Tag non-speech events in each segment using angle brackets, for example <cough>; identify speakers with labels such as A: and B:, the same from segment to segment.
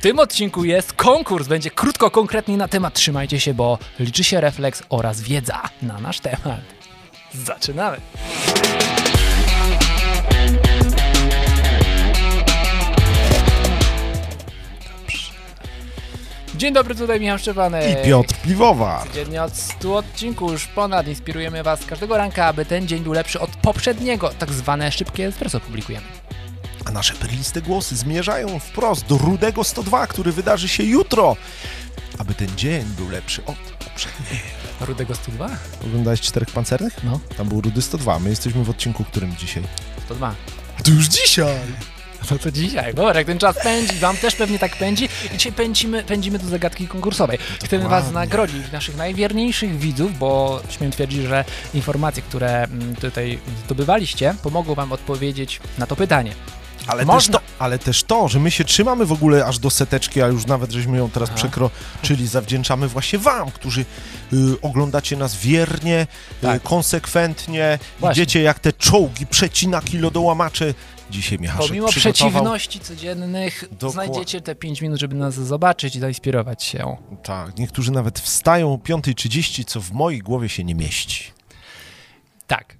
A: tym odcinku jest konkurs. Będzie krótko, konkretnie na temat. Trzymajcie się, bo liczy się refleks oraz wiedza na nasz temat. Zaczynamy. Dzień dobry, tutaj Michał Szczepanek.
B: I Piotr Piwowar.
A: Codziennie od 100 odcinków już ponad inspirujemy Was każdego ranka, aby ten dzień był lepszy od poprzedniego. Tak zwane szybkie espresso publikujemy.
B: A nasze perliste głosy zmierzają wprost do Rudego 102, który wydarzy się jutro. Aby ten dzień był lepszy od poprzedniego.
A: Rudego 102?
B: Oglądałeś Czterech Pancernych?
A: No,
B: Tam był Rudy 102. My jesteśmy w odcinku, którym dzisiaj?
A: 102.
B: To już dzisiaj!
A: No to dzisiaj, dobra, jak ten czas pędzi, wam też pewnie tak pędzi i dzisiaj pędzimy, pędzimy do zagadki konkursowej. Chcemy was
B: Dokładnie.
A: nagrodzić, naszych najwierniejszych widzów, bo śmiem twierdzić, że informacje, które mm, tutaj zdobywaliście, pomogą wam odpowiedzieć na to pytanie.
B: Ale też,
A: Można.
B: to, ale też to, że my się trzymamy w ogóle aż do seteczki, a już nawet żeśmy ją teraz
A: Aha.
B: przekroczyli, zawdzięczamy właśnie wam, którzy y, oglądacie nas wiernie,
A: Tak.
B: y, konsekwentnie,
A: Właśnie.
B: idziecie jak te czołgi, przecinaki, lodołamacze. Dzisiaj Michał
A: Pomimo
B: przygotował...
A: przeciwności codziennych,
B: Dokładnie.
A: znajdziecie te 5 minut, żeby nas zobaczyć i zainspirować się.
B: Tak, niektórzy nawet wstają o 5.30, co w mojej głowie się nie mieści.
A: Tak.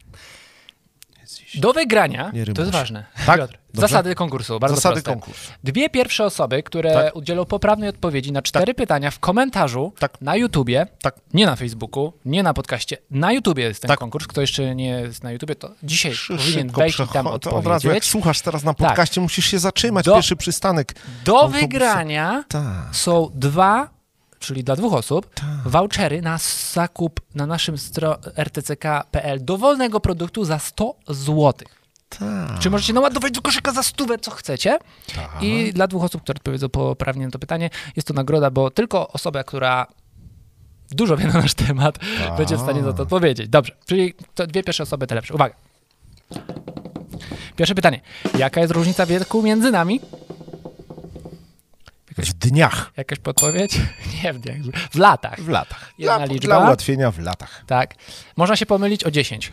A: Do wygrania,
B: Nie rymuj
A: to jest
B: się.
A: ważne,
B: Tak?
A: Piotr,
B: Dobrze?
A: zasady konkursu, bardzo
B: Zasady
A: proste.
B: konkursu.
A: Dwie pierwsze osoby, które
B: Tak.
A: udzielą poprawnej odpowiedzi na cztery pytania w komentarzu
B: Tak.
A: na YouTubie,
B: Tak.
A: nie na Facebooku, nie na podcaście, na YouTubie jest ten
B: Tak.
A: konkurs. Kto jeszcze nie jest na YouTubie, to dzisiaj
B: Szy-
A: powinien
B: szybko
A: wejść i tam
B: przecho- to od razu jak
A: odpowiedzieć. Tak.
B: słuchasz teraz na podcaście, musisz się zatrzymać,
A: Do-
B: pierwszy przystanek.
A: Do
B: autobusu.
A: wygrania
B: Tak.
A: są dwa, czyli dla dwóch osób, vouchery na zakup na naszym stro rtck.pl dowolnego produktu za 100 zł.
B: Tak.
A: Czy możecie naładować do koszyka za stówę, co chcecie. I dla dwóch osób, które odpowiedzą poprawnie na to pytanie, jest to nagroda, bo tylko osoba, która dużo wie na nasz temat, będzie w stanie na to odpowiedzieć. Dobrze, czyli to dwie pierwsze osoby, te lepsze. Uwaga. Pierwsze pytanie. Jaka jest różnica wieku między nami?
B: W dniach.
A: Jakaś podpowiedź? <laughs> Nie wiem, w latach.
B: W latach.
A: Jedna
B: dla,
A: liczba.
B: dla ułatwienia w latach.
A: Tak. Można się pomylić o 10. <laughs>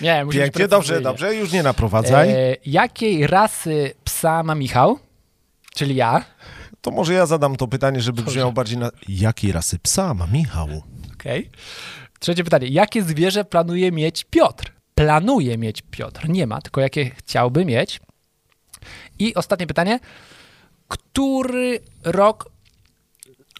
A: Nie, musi być
B: Pięknie, dobrze,
A: precyzyjnie.
B: dobrze, już nie naprowadzaj.
A: E, jakiej rasy psa ma Michał? Czyli ja.
B: To może ja zadam to pytanie, żeby brzmiało bardziej na... Jakiej rasy psa ma Michał?
A: Okej. Trzecie pytanie. Jakie zwierzę planuje mieć Piotr? Planuje mieć Piotr. Nie ma, tylko jakie chciałby mieć. I ostatnie pytanie. Który rok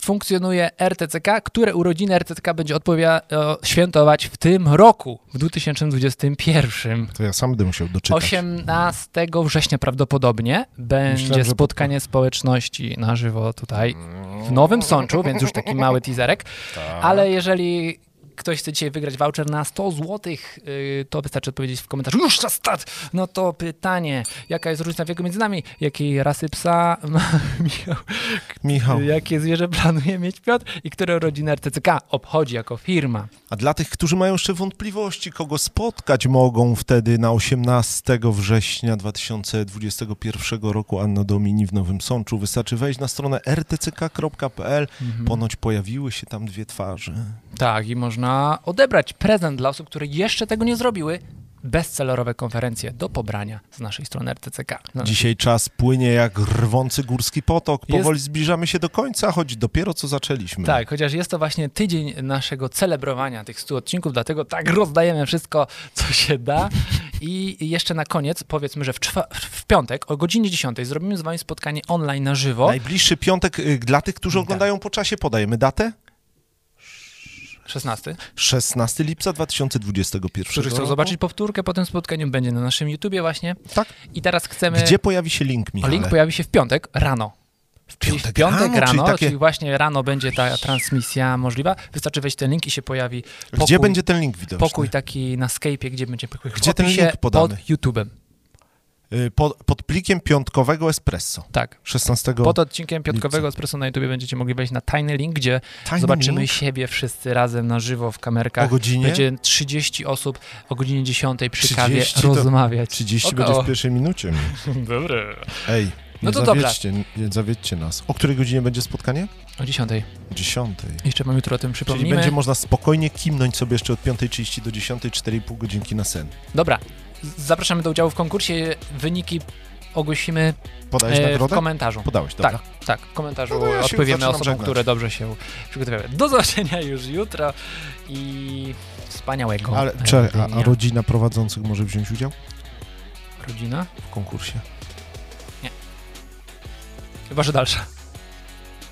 A: funkcjonuje RTCK? Które urodziny RTCK będzie odpowia- o, świętować w tym roku, w 2021?
B: To ja sam będę musiał doczytać.
A: 18 września prawdopodobnie będzie
B: Myślałem, że
A: spotkanie społeczności na żywo tutaj w Nowym Sączu, więc już taki mały teaserek.
B: Tak.
A: Ale jeżeli ktoś chce dzisiaj wygrać voucher na 100 zł, to wystarczy odpowiedzieć w komentarzu już na start! No to pytanie, jaka jest różnica wieku między nami? Jakiej rasy psa <laughs> ma Michał?
B: Michał,
A: Jakie zwierzę planuje mieć Piotr? I które rodzinę RTCK obchodzi jako firma?
B: a dla tych, którzy mają jeszcze wątpliwości, kogo spotkać mogą wtedy na 18 września 2021 roku Anno Domini w Nowym Sączu, wystarczy wejść na stronę rtck.pl.
A: Mhm.
B: Ponoć pojawiły się tam dwie twarze.
A: Tak, i można odebrać prezent dla osób, które jeszcze tego nie zrobiły. Bezcelerowe konferencje do pobrania z naszej strony RTCK. No,
B: Dzisiaj czas płynie jak rwący górski potok.
A: Jest-
B: Powoli zbliżamy się do końca, choć dopiero co zaczęliśmy.
A: tak, chociaż jest to właśnie tydzień naszego celebrowania tych 100 odcinków, dlatego tak rozdajemy wszystko, co się da. I jeszcze na koniec powiedzmy, że w, czwa- w piątek o godzinie 10 zrobimy z Wami spotkanie online na żywo.
B: Najbliższy piątek y, dla tych, którzy
A: Tak.
B: oglądają po czasie, podajemy datę.
A: 16.
B: 16 lipca 2021
A: Którzy chcą
B: roku.
A: zobaczyć powtórkę po tym spotkaniu, będzie na naszym YouTubie właśnie.
B: Tak.
A: I teraz chcemy...
B: Gdzie pojawi się link,
A: A
B: Michale?
A: e, link pojawi się w piątek rano. W
B: piątek
A: w piątek
B: rano,
A: rano,
B: czyli
A: czyli,
B: takie-
A: właśnie rano będzie ta transmisja możliwa. Wystarczy wejść ten link i się pojawi pokój,
B: Gdzie będzie ten link widoczny?
A: pokój taki na Skype'ie, gdzie będzie pokój. W
B: Gdzie ten
A: opisie
B: link podany?
A: Pod YouTube'em,
B: Y, Pod, pod plikiem piątkowego espresso.
A: tak.
B: 16
A: Pod odcinkiem Piątkowego Espresso na YouTubie będziecie mogli wejść na tajny link, gdzie
B: Tajny
A: zobaczymy
B: link?
A: siebie wszyscy razem na żywo w kamerkach.
B: O godzinie?
A: Będzie 30 osób o godzinie 10 przy
B: 30
A: kawie
B: to-
A: rozmawiać.
B: 30
A: Około.
B: będzie w pierwszej minucie.
A: <laughs> Dobre.
B: Ej,
A: No
B: nie,
A: to dobra.
B: zawiedźcie, nie zawiedźcie nas. O której godzinie będzie spotkanie?
A: O 10.
B: 10.
A: Jeszcze mam jutro o tym
B: Czyli
A: przypomnimy.
B: będzie można spokojnie kimnąć sobie jeszcze od 5.30 do 10, 4,5 godzinki na sen.
A: Dobra, z- zapraszamy do udziału w konkursie. Wyniki ogłosimy
B: Podałeś
A: e, w
B: nagrodę?
A: komentarzu.
B: Podałeś, dobra.
A: Tak, tak, w komentarzu
B: No to ja się
A: odpowiemy
B: zaczynam
A: osobom,
B: żegnać.
A: które dobrze się przygotowały. Do zobaczenia już jutro i wspaniałego
B: Ale
A: e,
B: cze, a, a
A: dnia.
B: rodzina prowadzących może wziąć udział
A: Rodzina?
B: w konkursie?
A: Chyba, że dalsza.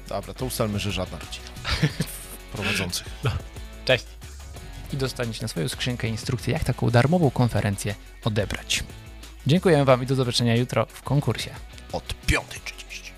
B: Dobra, to ustalmy, że żadna
A: <laughs>
B: rodzina prowadzących.
A: I dostaniecie na swoją skrzynkę instrukcję, jak taką darmową konferencję odebrać. Dziękuję Wam i do zobaczenia jutro w konkursie.
B: Od 5.30.